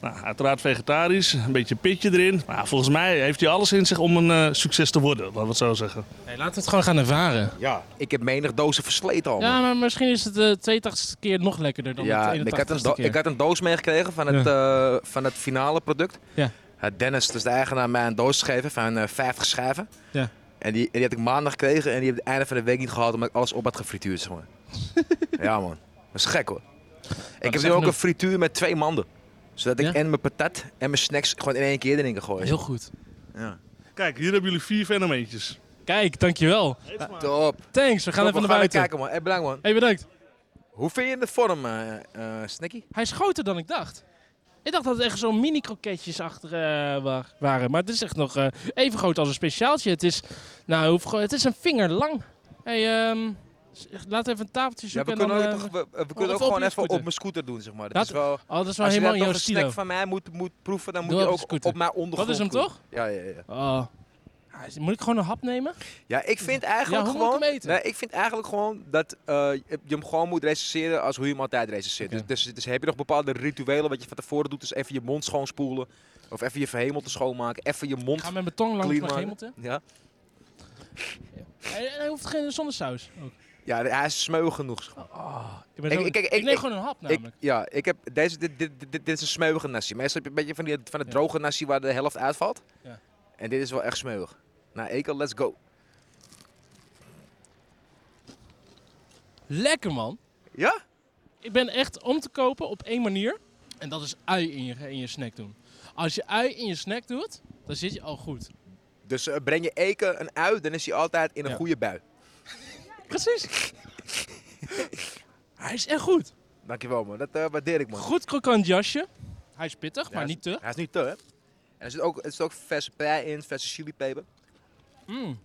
[SPEAKER 10] nou, uiteraard vegetarisch, een beetje pitje erin. Maar volgens mij heeft hij alles in zich om een eh, succes te worden, laten we het zo zeggen.
[SPEAKER 3] Hey, laten we het gewoon gaan ervaren.
[SPEAKER 2] Ja, ik heb menig dozen versleten al
[SPEAKER 3] Ja,
[SPEAKER 2] man.
[SPEAKER 3] maar misschien is het de 82 keer nog lekkerder dan
[SPEAKER 2] Ja, ik
[SPEAKER 3] de
[SPEAKER 2] had, een
[SPEAKER 3] 81ste
[SPEAKER 2] do-
[SPEAKER 3] keer.
[SPEAKER 2] ik had een doos meegekregen van, het, eh, van het finale product.
[SPEAKER 3] Ja.
[SPEAKER 2] Eh, Dennis, dus de eigenaar, mij een doos gegeven van eh 50 schijven.
[SPEAKER 3] Ja.
[SPEAKER 2] En die, en die had ik maandag gekregen en die heb ik het einde van de week niet gehad omdat ik alles op had gefrituurd. Zeg maar.
[SPEAKER 3] [laughs]
[SPEAKER 2] ja man, dat is gek hoor. Ik heb
[SPEAKER 3] echt
[SPEAKER 2] nu ook
[SPEAKER 3] genoeg.
[SPEAKER 2] een frituur met twee manden. Zodat ik
[SPEAKER 3] Ja?
[SPEAKER 2] en mijn patat en mijn snacks gewoon in één keer erin kan gooien.
[SPEAKER 3] Heel goed.
[SPEAKER 10] Kijk, hier hebben jullie vier fenomeentjes.
[SPEAKER 3] Kijk, dankjewel.
[SPEAKER 2] Top.
[SPEAKER 3] Thanks, we gaan
[SPEAKER 2] Top, we gaan
[SPEAKER 3] even naar
[SPEAKER 2] weer
[SPEAKER 3] buiten.
[SPEAKER 2] kijken man. Hey, bedankt man.
[SPEAKER 3] hey, bedankt.
[SPEAKER 2] Hoe vind je de vorm, eh eh, Snacky?
[SPEAKER 3] Hij is groter dan ik dacht. Ik dacht dat het echt zo'n mini kroketjes achter eh, wa- waren. Maar het is echt nog eh, even groot als een speciaaltje. Het is, nou, hoeveel gro- het is een vinger lang. Hey, ehm, s- laat even een tafeltje
[SPEAKER 2] Ja, we
[SPEAKER 3] zoeken.
[SPEAKER 2] kunnen ook,
[SPEAKER 3] en dan,
[SPEAKER 2] toch-
[SPEAKER 3] eh,
[SPEAKER 2] we, we kunnen
[SPEAKER 3] of
[SPEAKER 2] ook
[SPEAKER 3] op
[SPEAKER 2] gewoon
[SPEAKER 3] je
[SPEAKER 2] even
[SPEAKER 3] scooter.
[SPEAKER 2] op mijn scooter doen zeg maar. Dat
[SPEAKER 3] Dat-
[SPEAKER 2] is wel,
[SPEAKER 3] oh, dat is wel
[SPEAKER 2] als je
[SPEAKER 3] helemaal
[SPEAKER 2] dan
[SPEAKER 3] in jouw
[SPEAKER 2] nog een
[SPEAKER 3] stilo.
[SPEAKER 2] snack van mij moet, moet proeven, dan
[SPEAKER 3] Doe
[SPEAKER 2] moet je
[SPEAKER 3] op de
[SPEAKER 2] ook op,
[SPEAKER 3] scooter.
[SPEAKER 2] mijn ondergrond
[SPEAKER 3] Dat is hem
[SPEAKER 2] proeven.
[SPEAKER 3] toch?
[SPEAKER 2] Ja, ja, ja. ja.
[SPEAKER 3] Oh. Ah, is- Moet ik gewoon een hap nemen?
[SPEAKER 2] Ja, ik vind eigenlijk
[SPEAKER 3] hoe moet ik
[SPEAKER 2] gewoon.
[SPEAKER 3] hem eten?
[SPEAKER 2] Nee, ik vind eigenlijk gewoon dat eh, je je hem gewoon moet recenseren als hoe je hem altijd recenseert.
[SPEAKER 3] Oké.
[SPEAKER 2] Dus, dus, dus heb je nog bepaalde rituelen wat je van tevoren doet? Dus even je mond schoonspoelen. Of even je verhemelte schoonmaken. Even je
[SPEAKER 3] Ik
[SPEAKER 2] mond
[SPEAKER 3] ga met mijn tong langs
[SPEAKER 2] clean
[SPEAKER 3] mijn hemelte.
[SPEAKER 2] maken. Ja.
[SPEAKER 3] Hij, hij hoeft geen zonder saus. Ook.
[SPEAKER 2] ja, hij is smeu genoeg. zeg maar.
[SPEAKER 3] Ik, ben
[SPEAKER 2] Ik-
[SPEAKER 3] zo-
[SPEAKER 2] ik- ik-
[SPEAKER 3] ik
[SPEAKER 2] ik-
[SPEAKER 3] neem
[SPEAKER 2] ik-
[SPEAKER 3] gewoon een hap
[SPEAKER 2] Ik,
[SPEAKER 3] namelijk.
[SPEAKER 2] ja, ik heb deze, dit, dit, dit, dit is een smeuige nasi. Meestal heb je een beetje van, die, van het
[SPEAKER 3] Ja.
[SPEAKER 2] droge nasi waar de helft uitvalt.
[SPEAKER 3] Ja.
[SPEAKER 2] En dit is wel echt smeuig. Nou, Ekel, let's go.
[SPEAKER 3] Lekker man.
[SPEAKER 2] Ja?
[SPEAKER 3] Ik ben echt om te kopen op één manier. En dat is ui in je, in je snack doen. Als je ui in je snack doet, dan zit je al goed.
[SPEAKER 2] Dus eh, breng je Ekel een uit, dan is hij altijd in een
[SPEAKER 3] Ja.
[SPEAKER 2] goede bui.
[SPEAKER 3] Precies. [laughs] Hij is echt goed.
[SPEAKER 2] Dankjewel, man. Dat eh, waardeer ik, man.
[SPEAKER 3] Goed krokant jasje. Hij is pittig,
[SPEAKER 2] Ja,
[SPEAKER 3] maar niet te.
[SPEAKER 2] Hij is niet te, hè? En er zit ook, er zit ook verse prei in, verse chilipeper.
[SPEAKER 3] Mm.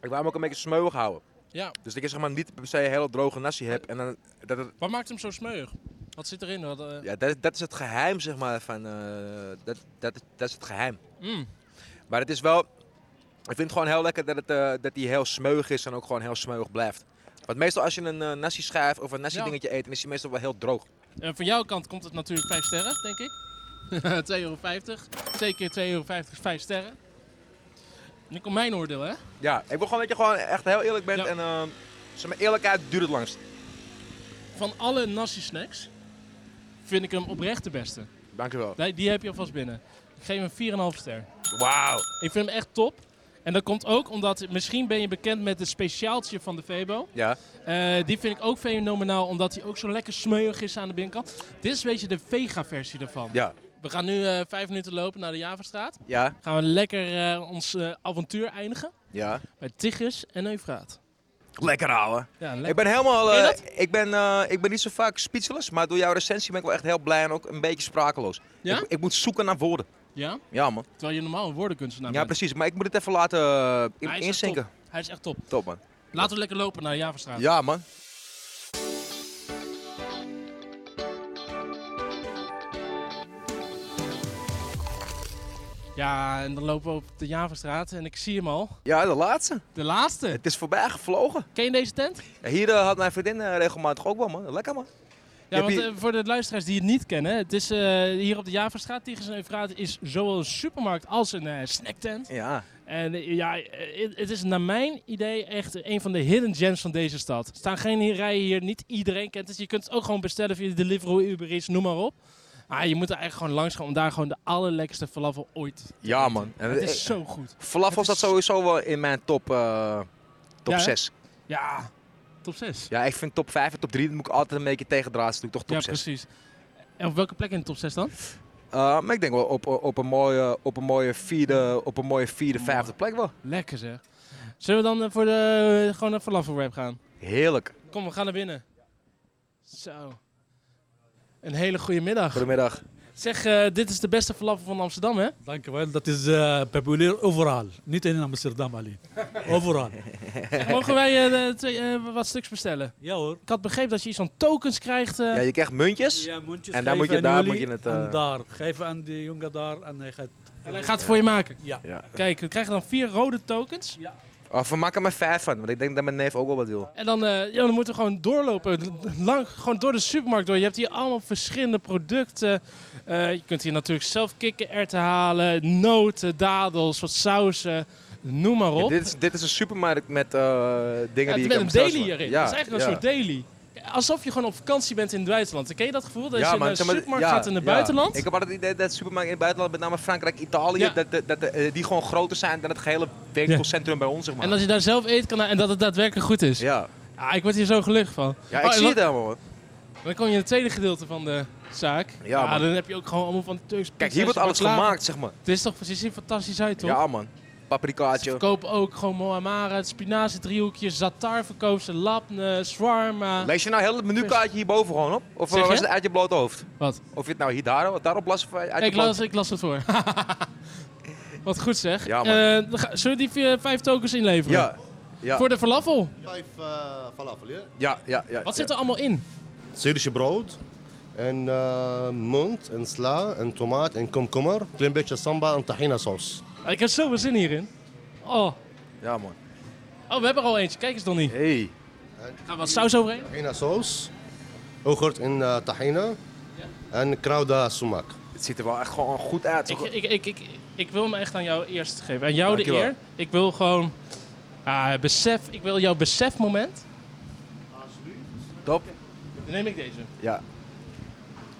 [SPEAKER 2] Ik wou hem ook een beetje smeuig houden.
[SPEAKER 3] Ja.
[SPEAKER 2] Dus dat je zeg maar niet per se een hele droge nasi hebt. En dan, dat, het-
[SPEAKER 3] Wat maakt hem zo smeuig? Wat zit erin? Wat, eh,
[SPEAKER 2] ja, dat, dat is het geheim, zeg maar, van... eh, dat, dat, dat is het geheim.
[SPEAKER 3] mm.
[SPEAKER 2] Maar het is wel... Ik vind het gewoon heel lekker dat, het, eh, dat die heel smeuig is en ook gewoon heel smeuig blijft. Want meestal als je een eh, nasi schijf of een nasi
[SPEAKER 3] Ja.
[SPEAKER 2] dingetje eet, dan is die meestal wel heel droog.
[SPEAKER 3] En van jouw kant komt het natuurlijk 5 sterren, denk ik. [laughs] 2,50 euro. 2 keer 2,50 euro, 5 sterren. Nu komt mijn oordeel, hè?
[SPEAKER 2] Ja, ik wil gewoon dat je gewoon echt heel eerlijk bent
[SPEAKER 3] Ja.
[SPEAKER 2] en... eh, zeg maar, eerlijkheid duurt het langst.
[SPEAKER 3] Van alle nasi snacks vind ik hem oprecht de beste.
[SPEAKER 2] Dankjewel.
[SPEAKER 3] Die, die heb je alvast binnen. Ik geef hem 4,5 ster.
[SPEAKER 10] Wauw.
[SPEAKER 3] Ik vind hem echt top. En dat komt ook omdat, misschien ben je bekend met het speciaaltje van de Febo.
[SPEAKER 2] Ja.
[SPEAKER 3] Eh, die vind ik ook fenomenaal, omdat hij ook zo lekker smeuig is aan de binnenkant. Dit is een beetje de vega-versie daarvan.
[SPEAKER 2] Ja.
[SPEAKER 3] We gaan nu eh, vijf minuten lopen naar de Javastraat.
[SPEAKER 2] Ja.
[SPEAKER 3] Gaan we lekker eh, ons eh, avontuur eindigen
[SPEAKER 2] Ja.
[SPEAKER 3] bij Tigris en Eufraat.
[SPEAKER 2] Lekker houden.
[SPEAKER 3] Ja, lekker.
[SPEAKER 2] Ik ben helemaal.
[SPEAKER 3] Ken je
[SPEAKER 2] eh,
[SPEAKER 3] dat?
[SPEAKER 2] ik, ben, eh, ik ben niet zo vaak speechless, maar door jouw recensie ben ik wel echt heel blij en ook een beetje sprakeloos.
[SPEAKER 3] Ja?
[SPEAKER 2] Ik, ik moet zoeken naar woorden.
[SPEAKER 3] Ja?
[SPEAKER 2] Ja, man.
[SPEAKER 3] Terwijl je normaal een woordenkunstenaar
[SPEAKER 2] Ja,
[SPEAKER 3] bent.
[SPEAKER 2] precies. Maar ik moet het even laten eh, in-
[SPEAKER 3] Hij is echt
[SPEAKER 2] inzinken.
[SPEAKER 3] top. Hij is echt top.
[SPEAKER 2] Top, man.
[SPEAKER 3] Laten we lekker lopen naar de Javastraat.
[SPEAKER 2] Ja, man.
[SPEAKER 3] Ja, en dan lopen we op de Javastraat en ik zie hem al.
[SPEAKER 2] Ja, de laatste.
[SPEAKER 3] De laatste?
[SPEAKER 2] Het is voorbij gevlogen.
[SPEAKER 3] Ken je deze tent?
[SPEAKER 2] Ja, hier eh, had mijn vriendin eh, regelmatig ook wel, man. Lekker, man. Je
[SPEAKER 3] Ja,
[SPEAKER 2] hebt
[SPEAKER 3] want
[SPEAKER 2] hier-
[SPEAKER 3] eh, voor de luisteraars die het niet kennen, het is eh, hier op de Javastraat, Tigers en Eufraat is zowel een supermarkt als een eh, snacktent.
[SPEAKER 2] Ja.
[SPEAKER 3] En eh, ja, eh, het- het is naar mijn idee echt een van de hidden gems van deze stad. Er staan geen rijen hier, niet iedereen kent het. Je kunt het ook gewoon bestellen via Deliveroo, Uber Eats, noem maar op. Maar je moet er eigenlijk gewoon langs gaan om daar gewoon de allerlekkerste falafel ooit.
[SPEAKER 2] Ja, man. En
[SPEAKER 3] Het
[SPEAKER 2] eh,
[SPEAKER 3] is zo goed.
[SPEAKER 2] Falafel staat sowieso wel in mijn top, eh, top
[SPEAKER 3] Ja, hè?
[SPEAKER 2] 6.
[SPEAKER 3] Ja, top 6.
[SPEAKER 2] Ja, ik vind top 5 en top 3, dat moet ik altijd een beetje tegendraad. Dus doe ik toch top
[SPEAKER 3] Ja,
[SPEAKER 2] 6.
[SPEAKER 3] precies. En op welke plek in de top 6 dan?
[SPEAKER 2] Eh, maar ik denk wel op, op, een mooie, op, een mooie vierde, op een mooie vierde, vijfde plek wel.
[SPEAKER 3] Lekker zeg. Zullen we dan eh, voor de, gewoon naar falafel wrap gaan?
[SPEAKER 2] Heerlijk.
[SPEAKER 3] Kom, we gaan naar binnen. Zo. Een hele goede middag.
[SPEAKER 2] Goedemiddag.
[SPEAKER 3] Zeg, eh, dit is de beste falafel van Amsterdam, hè?
[SPEAKER 11] Dankjewel, dat is eh, populair overal. Niet in Amsterdam
[SPEAKER 10] [laughs]
[SPEAKER 11] alleen. Overal.
[SPEAKER 3] Mogen wij eh, de twee, eh, wat stuks bestellen?
[SPEAKER 11] Ja hoor.
[SPEAKER 3] Ik had begrepen dat je iets van tokens krijgt. eh.
[SPEAKER 2] Ja, je krijgt muntjes.
[SPEAKER 11] Ja, muntjes
[SPEAKER 2] En daar
[SPEAKER 11] geven
[SPEAKER 2] moet je,
[SPEAKER 11] aan
[SPEAKER 2] daar
[SPEAKER 11] jullie
[SPEAKER 2] moet je het...
[SPEAKER 11] En
[SPEAKER 2] eh,
[SPEAKER 11] daar, geef aan die jongen daar en hij gaat...
[SPEAKER 3] Hij gaat het voor je maken.
[SPEAKER 11] Ja.
[SPEAKER 3] Kijk, we krijgen dan vier rode tokens.
[SPEAKER 2] Of Ah, we maken er maar vijf van, want ik denk dat mijn neef ook wel wat wil.
[SPEAKER 3] En dan, eh, ja, dan moeten we gewoon doorlopen. l- Lang, gewoon door de supermarkt door. Je hebt hier allemaal verschillende producten. Eh, je kunt hier natuurlijk zelf kikkererwten halen. Noten, dadels, wat sausen. Noem maar op.
[SPEAKER 2] dit, is, dit is een supermarkt met eh, dingen die je
[SPEAKER 3] ja, met
[SPEAKER 2] kan
[SPEAKER 3] een
[SPEAKER 2] bestellen,
[SPEAKER 3] daily
[SPEAKER 2] zeg maar.
[SPEAKER 3] hierin.
[SPEAKER 2] Ja,
[SPEAKER 3] dat is eigenlijk
[SPEAKER 2] ja.
[SPEAKER 3] een soort daily. Alsof je gewoon op vakantie bent in Duitsland. Ken je dat gevoel? Dat
[SPEAKER 2] Ja,
[SPEAKER 3] je
[SPEAKER 2] man,
[SPEAKER 3] naar de
[SPEAKER 2] zeg maar,
[SPEAKER 3] supermarkt
[SPEAKER 2] ja,
[SPEAKER 3] gaat in het
[SPEAKER 2] ja.
[SPEAKER 3] buitenland?
[SPEAKER 2] Ik heb altijd het idee dat supermarkten in het buitenland, met name Frankrijk, Italië,
[SPEAKER 3] Ja.
[SPEAKER 2] dat, dat, dat, eh, die gewoon groter zijn dan het gehele winkelcentrum bij ons, zeg maar.
[SPEAKER 3] En dat je daar zelf eten kan en dat het daadwerkelijk goed is.
[SPEAKER 2] Ja.
[SPEAKER 3] Ah, ik word hier zo gelukkig van.
[SPEAKER 2] Ja,
[SPEAKER 3] Oh,
[SPEAKER 2] ik
[SPEAKER 3] en
[SPEAKER 2] zie
[SPEAKER 3] wat-
[SPEAKER 2] het helemaal, hoor.
[SPEAKER 3] Dan kom je in het tweede gedeelte van de zaak. Ah,
[SPEAKER 2] Ja, man.
[SPEAKER 3] dan heb je ook gewoon allemaal van de Turks
[SPEAKER 2] Kijk, hier wordt alles gemaakt, zeg maar.
[SPEAKER 3] Het is toch precies hier fantastisch uit, toch?
[SPEAKER 2] Ja, man. Paprikaatje.
[SPEAKER 3] Verkoop ook gewoon Mohamara, het spinazie driehoekje, zatar verkoopt ze, labne, zwarma.
[SPEAKER 2] Lees je nou heel het menukaartje hierboven gewoon op? Of
[SPEAKER 3] Zeg
[SPEAKER 2] eh, was
[SPEAKER 3] je?
[SPEAKER 2] het uit je blote hoofd?
[SPEAKER 3] Wat?
[SPEAKER 2] Of je het nou hier daar, daarop las of uit je
[SPEAKER 3] Ik
[SPEAKER 2] blote-
[SPEAKER 3] las, ik las het
[SPEAKER 2] [laughs]
[SPEAKER 3] voor. Wat goed zeg.
[SPEAKER 2] Ja, man.
[SPEAKER 3] Eh, dan ga- zullen we die vier- vijf tokens inleveren?
[SPEAKER 2] Ja. Ja.
[SPEAKER 3] Voor de falafel.
[SPEAKER 12] Vijf eh, falafel, ja?
[SPEAKER 2] Ja, ja, ja.
[SPEAKER 3] Wat zit er allemaal in?
[SPEAKER 12] Syrische brood. En eh munt en sla en tomaat en komkommer. Klein beetje samba en tahina saus.
[SPEAKER 3] Ik heb zoveel zin hierin. Oh.
[SPEAKER 2] Ja, man.
[SPEAKER 3] Oh, we hebben er al eentje. Kijk eens, Donnie.
[SPEAKER 2] Hey.
[SPEAKER 3] Gaan we wat saus overheen?
[SPEAKER 12] Tahina saus. Yoghurt en eh, tahina. En krauda sumaak.
[SPEAKER 2] Het ziet er wel echt gewoon goed uit.
[SPEAKER 3] Ik, ik, ik, ik, ik wil hem echt aan jou eerst geven. Aan jou
[SPEAKER 2] Dankjewel.
[SPEAKER 3] de eer. Ik wil gewoon... Ah, besef. Ik wil jouw besefmoment.
[SPEAKER 2] Top.
[SPEAKER 3] Dan neem ik deze.
[SPEAKER 2] Ja.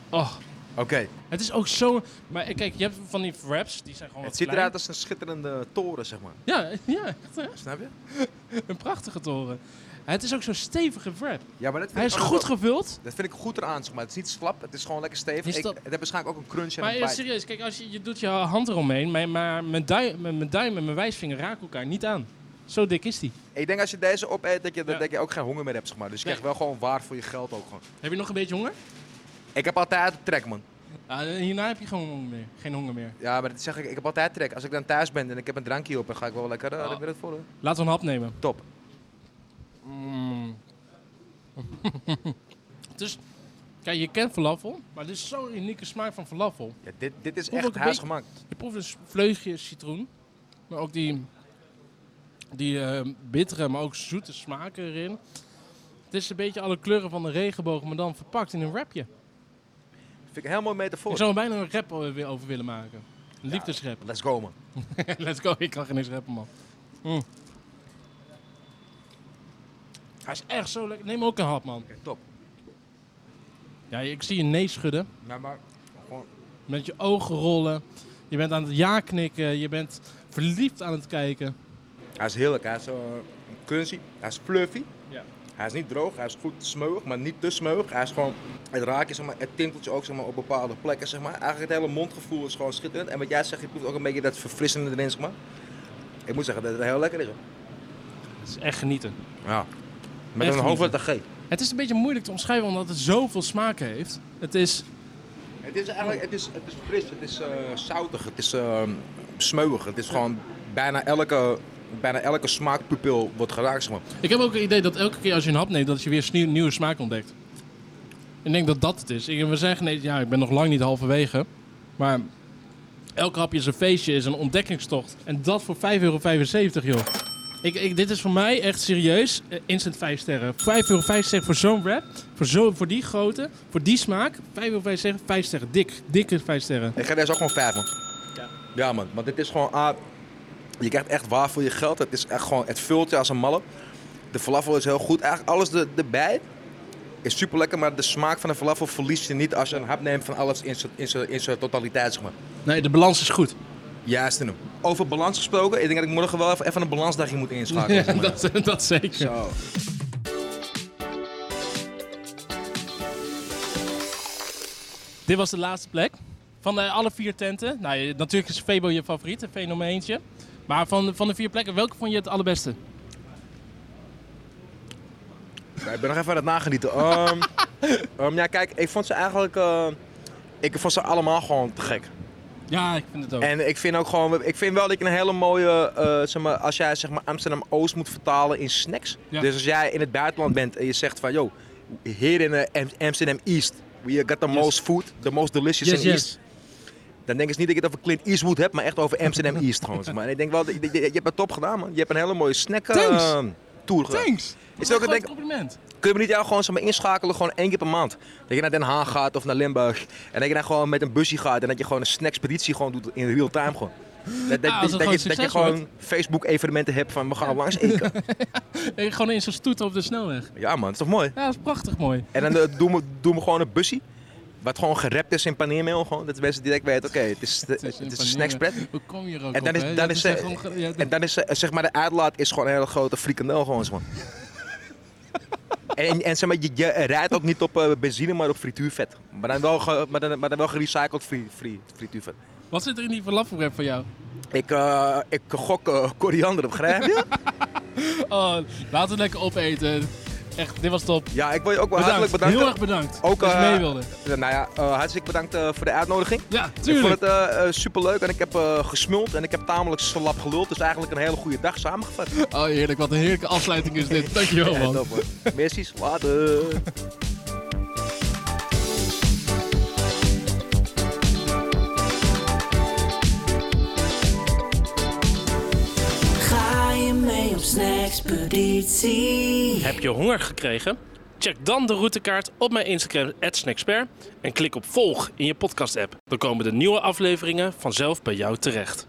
[SPEAKER 3] Oh.
[SPEAKER 2] Oké.
[SPEAKER 3] Het is ook zo... Maar eh, kijk, je hebt van die wraps. Die zijn gewoon
[SPEAKER 2] Het
[SPEAKER 3] wat
[SPEAKER 2] ziet
[SPEAKER 3] klein.
[SPEAKER 2] eruit als een schitterende toren, zeg maar.
[SPEAKER 3] Ja, ja. echt, hè?
[SPEAKER 2] Snap je?
[SPEAKER 3] Een prachtige toren. Het is ook zo'n stevige wrap.
[SPEAKER 2] Ja, maar Oh, dat vind
[SPEAKER 3] Hij
[SPEAKER 2] ik
[SPEAKER 3] is
[SPEAKER 2] ook
[SPEAKER 3] goed
[SPEAKER 2] wel-
[SPEAKER 3] gevuld.
[SPEAKER 2] Dat vind ik goed eraan, zeg maar. Het is niet slap, het is gewoon lekker stevig.
[SPEAKER 3] Is
[SPEAKER 2] Ik,
[SPEAKER 3] dat-
[SPEAKER 2] het heeft waarschijnlijk ook een crunch en
[SPEAKER 3] Maar
[SPEAKER 2] een
[SPEAKER 3] eh,
[SPEAKER 2] bite.
[SPEAKER 3] serieus, kijk, als je, je doet je hand eromheen, maar, maar mijn, duim, mijn, mijn duim en mijn wijsvinger raken elkaar niet aan. Zo dik is die.
[SPEAKER 2] Ik denk als je deze opeet, dat je, dat
[SPEAKER 3] Ja.
[SPEAKER 2] dat je ook geen honger meer hebt, zeg maar. Dus je
[SPEAKER 3] Nee.
[SPEAKER 2] krijgt wel gewoon waar voor je geld ook gewoon.
[SPEAKER 3] Heb je nog een beetje honger?
[SPEAKER 2] Ik heb altijd trek, man.
[SPEAKER 3] Ah, hierna heb je gewoon honger meer. geen honger meer.
[SPEAKER 2] Ja, maar dat zeg ik, ik heb altijd trek. Als ik dan thuis ben en ik heb een drankje op, dan ga ik wel lekker eh,
[SPEAKER 3] Oh.
[SPEAKER 2] weer het voelen.
[SPEAKER 3] Laten we een hap nemen.
[SPEAKER 2] Top.
[SPEAKER 3] Mm. dus, kijk, je kent falafel, maar dit is zo'n unieke smaak van falafel.
[SPEAKER 2] Ja, dit, dit is
[SPEAKER 3] Proef ook
[SPEAKER 2] echt
[SPEAKER 3] een
[SPEAKER 2] huisgemaakt.
[SPEAKER 3] Je proeft een s- vleugje citroen, maar ook die, die eh, bittere, maar ook zoete smaken erin. Het is een beetje alle kleuren van de regenboog, maar dan verpakt in een wrapje.
[SPEAKER 2] Vind ik een heel mooi metafoor.
[SPEAKER 3] Ik zou er bijna een rap o- weer over willen maken. Een liefdesrap. [laughs]
[SPEAKER 2] Let's go, man.
[SPEAKER 3] Let's go, ik kan geen eens rappen, man. Mm. Hij is echt zo lekker. Neem ook een hap, man.
[SPEAKER 2] top.
[SPEAKER 3] Ja, ik zie je nee schudden.
[SPEAKER 2] Ja, Nou, maar...
[SPEAKER 3] Met je ogen rollen. Je bent aan het ja knikken. Je bent verliefd aan het kijken.
[SPEAKER 2] Hij is heerlijk. Hij is eh, een currency. Hij is fluffy.
[SPEAKER 3] Ja.
[SPEAKER 2] Hij is niet droog. Hij is goed smeuig, maar niet te smeuig. Hij is gewoon... Het raakje, zeg maar, het tintelt je ook zeg maar, op bepaalde plekken, zeg maar. Eigenlijk het hele mondgevoel is gewoon schitterend. En wat jij zegt, je proeft ook een beetje dat verfrissende erin, zeg maar. Ik moet zeggen dat het heel lekker is, hoor.
[SPEAKER 3] Het is echt genieten.
[SPEAKER 2] Ja. Met
[SPEAKER 3] Echt
[SPEAKER 2] een hoofdletter G.
[SPEAKER 3] genieten. Het is een beetje moeilijk te omschrijven omdat het zoveel smaken heeft. Het is
[SPEAKER 2] Het is eigenlijk, het is, het is fris, het is eh, zoutig, het is eh, smeuig. Het is gewoon bijna elke, bijna elke smaakpupil wordt geraakt, zeg maar.
[SPEAKER 3] Ik heb ook het idee dat elke keer als je een hap neemt, dat je weer snie- nieuwe smaak ontdekt. Ik denk dat dat het is. Ik, we zeggen, nee, ja, ik ben nog lang niet halverwege. Maar elk hapje is een feestje, is een ontdekkingstocht. En dat voor 5,75 euro, joh. Ik, ik, dit is voor mij echt serieus. eh, instant 5 sterren. 5,75 euro voor zo'n wrap. Voor, zo, voor die grootte. Voor die smaak. 5,75 euro, 5 sterren. Dik. Dikke 5 sterren.
[SPEAKER 2] Ik ga deze ook gewoon 5, man. Ja. man. Want dit is gewoon... ah, je krijgt echt waar voor je geld. Het, is echt gewoon, het vult je als een malle. De falafel is heel goed. Eigenlijk alles er- erbij is super lekker. Maar de smaak van de falafel verlies je niet als je een hap neemt van alles in zijn- in zijn- in zijn totaliteit, zeg maar.
[SPEAKER 3] Nee, de balans is goed.
[SPEAKER 2] Juist in hem. Over balans gesproken. Ik denk dat ik morgen wel even, even een balansdagje moet
[SPEAKER 3] [laughs]
[SPEAKER 2] inschakelen. zeg maar.
[SPEAKER 3] dat, dat zeker.
[SPEAKER 2] Zo.
[SPEAKER 3] Dit was de laatste plek. Van eh, alle vier tenten. Nou, je- natuurlijk is Febo je favoriet, een fenomeentje. Maar van, van de vier plekken, welke vond je het allerbeste?
[SPEAKER 2] Ja, ik ben nog even aan het nagenieten.
[SPEAKER 3] [laughs]
[SPEAKER 2] Ehm, ehm, ja, kijk, ik vond ze eigenlijk. eh, ik vond ze allemaal gewoon te gek.
[SPEAKER 3] Ja, ik vind het ook.
[SPEAKER 2] En ik vind ook gewoon. Ik vind wel dat ik een hele mooie. eh, zeg maar, als jij zeg maar Amsterdam Oost moet vertalen in snacks.
[SPEAKER 3] Ja.
[SPEAKER 2] Dus als jij in het buitenland bent en je zegt van. Yo, here in eh, Am- Amsterdam East. We got the most food, the most delicious
[SPEAKER 3] Yes,
[SPEAKER 2] in
[SPEAKER 3] yes.
[SPEAKER 2] East. Dan denk ik dus niet dat ik het over Clint Eastwood heb, maar echt over
[SPEAKER 3] [laughs]
[SPEAKER 2] Amsterdam East gewoon. zeg Maar En ik denk wel, dat- je, je, je hebt het top gedaan man. Je hebt een hele mooie snack eh,
[SPEAKER 3] Thanks.
[SPEAKER 2] tour gedaan.
[SPEAKER 3] Thanks.
[SPEAKER 2] Is ook, ik denk,
[SPEAKER 3] compliment.
[SPEAKER 2] Kun je niet jou gewoon zeg maar, inschakelen gewoon één keer per maand? Dat je naar Den Haag gaat of naar Limburg. En dat je dan gewoon met een busje gaat. En dat je gewoon een snackspeditie gewoon doet in real time gewoon. Dat, dat,
[SPEAKER 3] Ah,
[SPEAKER 2] dat, dat
[SPEAKER 3] als het gewoon
[SPEAKER 2] je, dat je
[SPEAKER 3] succes
[SPEAKER 2] gewoon
[SPEAKER 3] wordt.
[SPEAKER 2] Facebook-evenementen hebt van we gaan langs
[SPEAKER 3] [laughs]
[SPEAKER 2] eten.
[SPEAKER 3] Eh, Gewoon in zo'n stoet op de snelweg.
[SPEAKER 2] Ja man, dat is toch mooi?
[SPEAKER 3] Ja, dat is prachtig mooi.
[SPEAKER 2] En dan eh, doen, we, doen we gewoon een busje. Wat gewoon gerept is in paneermeel gewoon. Dat mensen direct weten, oké, het is, het is, een snackspret.
[SPEAKER 3] Hoe kom je er ook
[SPEAKER 2] En dan
[SPEAKER 3] op, hè?
[SPEAKER 2] is,
[SPEAKER 3] Dat
[SPEAKER 2] dan is,
[SPEAKER 3] echt gewoon ge- ja,
[SPEAKER 2] eh, en dan is eh, zeg maar de uitlaat is gewoon een hele grote frikandel gewoon zeg maar. En, en zeg maar, je, je rijdt ook niet op eh, benzine, maar op frituurvet. Maar dan wel, ge- maar dan, maar dan wel gerecycled fri, fri, frituurvet.
[SPEAKER 3] Wat zit er in die falafelwrap van jou?
[SPEAKER 2] Ik, eh, ik gok eh, koriander op, begrijp je?
[SPEAKER 3] Oh, laten we lekker opeten. Echt, dit was top.
[SPEAKER 2] Ja, ik wil je ook wel
[SPEAKER 3] Bedankt.
[SPEAKER 2] hartelijk bedanken.
[SPEAKER 3] Heel erg bedankt
[SPEAKER 2] Ook,
[SPEAKER 3] dat je
[SPEAKER 2] eh,
[SPEAKER 3] mee wilde.
[SPEAKER 2] Nou ja, eh, hartstikke bedankt eh, voor de uitnodiging.
[SPEAKER 3] Ja,
[SPEAKER 2] Ik
[SPEAKER 3] tuurlijk.
[SPEAKER 2] vond het eh, eh, superleuk en ik heb eh, gesmuld en ik heb tamelijk slap geluld. Dus eigenlijk een hele goede dag samengevat.
[SPEAKER 3] Oh, heerlijk. Wat een heerlijke afsluiting is dit. Dankjewel, man.
[SPEAKER 2] Ja, top, hoor. Missies, later.
[SPEAKER 13] Ga je mee op snackspeditie?
[SPEAKER 14] Heb je honger gekregen? Check dan de routekaart op mijn Instagram, @snacksper en klik op volg in je podcast-app. Dan komen de nieuwe afleveringen vanzelf bij jou terecht.